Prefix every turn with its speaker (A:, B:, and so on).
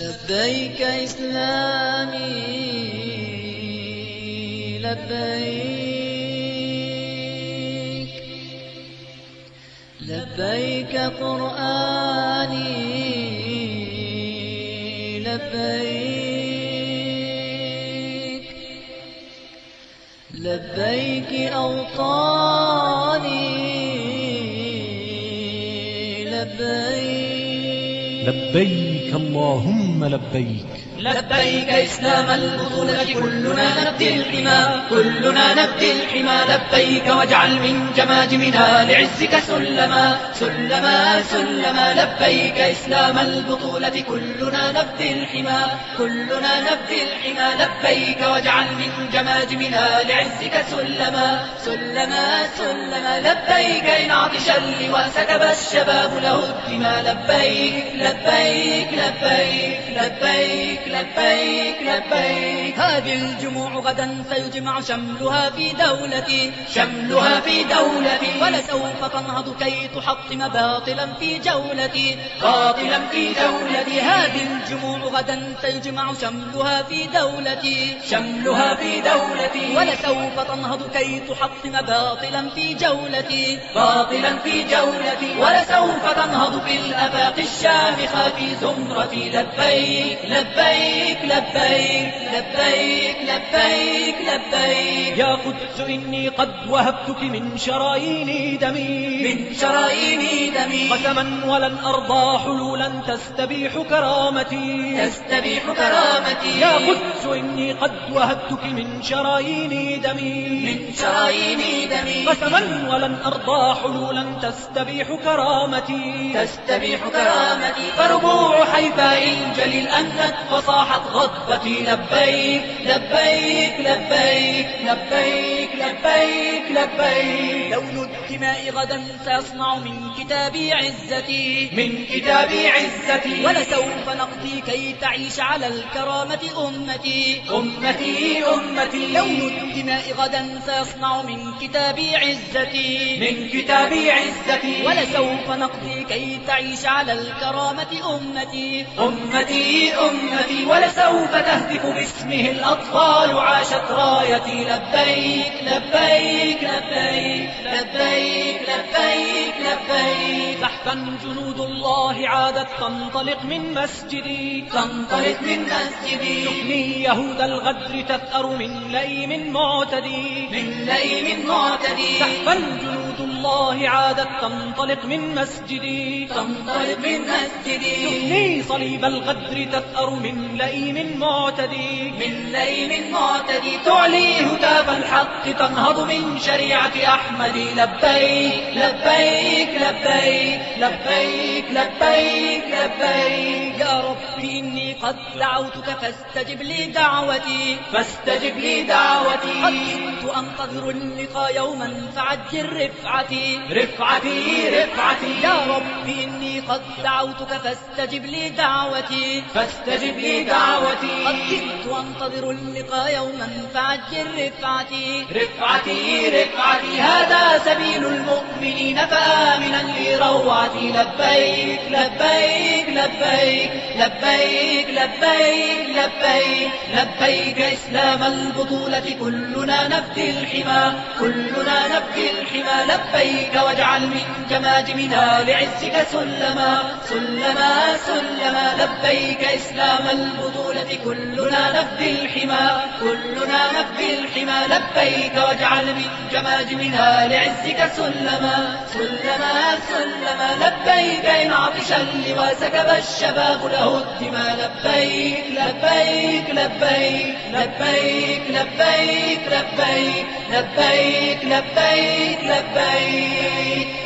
A: لبيك إسلامي لبيك لبيك قرآني لبيك لبيك أوطاني لبيك
B: لبيك اللهم لبيك
C: لبيك إسلام البطولة كلنا نبدي الحمى كلنا نبدي الحمى لبيك واجعل من جماجمنا لعزك سلما سلما سلما لبيك إسلام البطولة كلنا نبدي الحمى كلنا نبدي الحمى لبيك واجعل من جماجمنا لعزك سلما سلما سلما لبيك إن عطش اللواء سكب الشباب له الدماء لبيك لبيك لبيك لبيك لبيك لبيك هذه الجموع غدا سيجمع شملها في دولتي شملها في دولتي ولسوف تنهض كي تحطم باطلا في جولتي باطلا في دولتي هذه الجموع غدا سيجمع شملها في دولتي شملها في دولتي ولسوف تنهض كي تحطم باطلا في جولتي باطلا في جولتي ولسوف تنهض في الآفاق الشامخة في زمرتي لبيك لبيك لبيك لبيك لبيك لبيك يا قدس إني قد وهبتك من شرايين دمي من شرايين دمي قسما ولن أرضى حلولا تستبيح كرامتي تستبيح كرامتي يا قدس إني قد وهبتك من شرايين دمي من شرايين دمي قسما ولن أرضى حلولا تستبيح كرامتي تستبيح كرامتي فربوع حيفاء الجليل أنت فصاحت غضبتي لبيك لبيك لبيك لبيك لبيك لبيك لون الدماء غدا سيصنع من كتابي عزتي من كتابي عزتي ولسوف نقضي كي تعيش على الكرامة أمتي أمتي أمتي لون الدماء غدا سيصنع من كتابي عزتي من كتابي عزتي ولسوف نقضي كي تعيش على الكرامة أمتي أمتي أمتي ولسوف تهتف باسمه الأطفال عاشت رايتي لبيك لبيك لبيك لبيك لبيك لبيك زحفا جنود الله عادت تنطلق من مسجدي تنطلق من مسجدي تبني يهود الغدر تثأر من لئيم معتدي من لئيم معتدي زحفا جنود الله عادت تنطلق من مسجدي تنطلق من مسجدي تبني صليب الغدر تثأر من لئيم معتدي من لئيم معتدي تعلي هتاف الحق تنهض من شريعة أحمد لبيك لبيك لبيك لبيك لبيك لبيك يا ربي إني قد دعوتك فاستجب لي دعوتي فاستجب لي دعوتي قد كنت أنتظر اللقاء يوما فعجل رفعتي رفعتي رفعتي يا ربي إني قد دعوتك فاستجب لي دعوتي فاستجب لي دعوتي قد كنت أنتظر اللقاء يوما فعجل رفعتي رفعتي رفعتي هذا سبيل المؤمنين فآمنا لروعتي لبيك لبيك لبيك لبيك لبيك لبيك لبيك إسلام البطولة كلنا نبدي الحمى كلنا نبدي الحمى لبيك واجعل من جماجمنا لعزك سلما سلما سلما لبيك إسلام البطولة كلنا نبدي الحمى كلنا نبدي الحمى لبيك واجعل من جماجمنا لعزك سلما سلما سلما لبيك إن عطش اللواء سكب الشباب له الدماء لبيك لبيك لبيك لبيك لبيك لبيك لبيك لبيك لبيك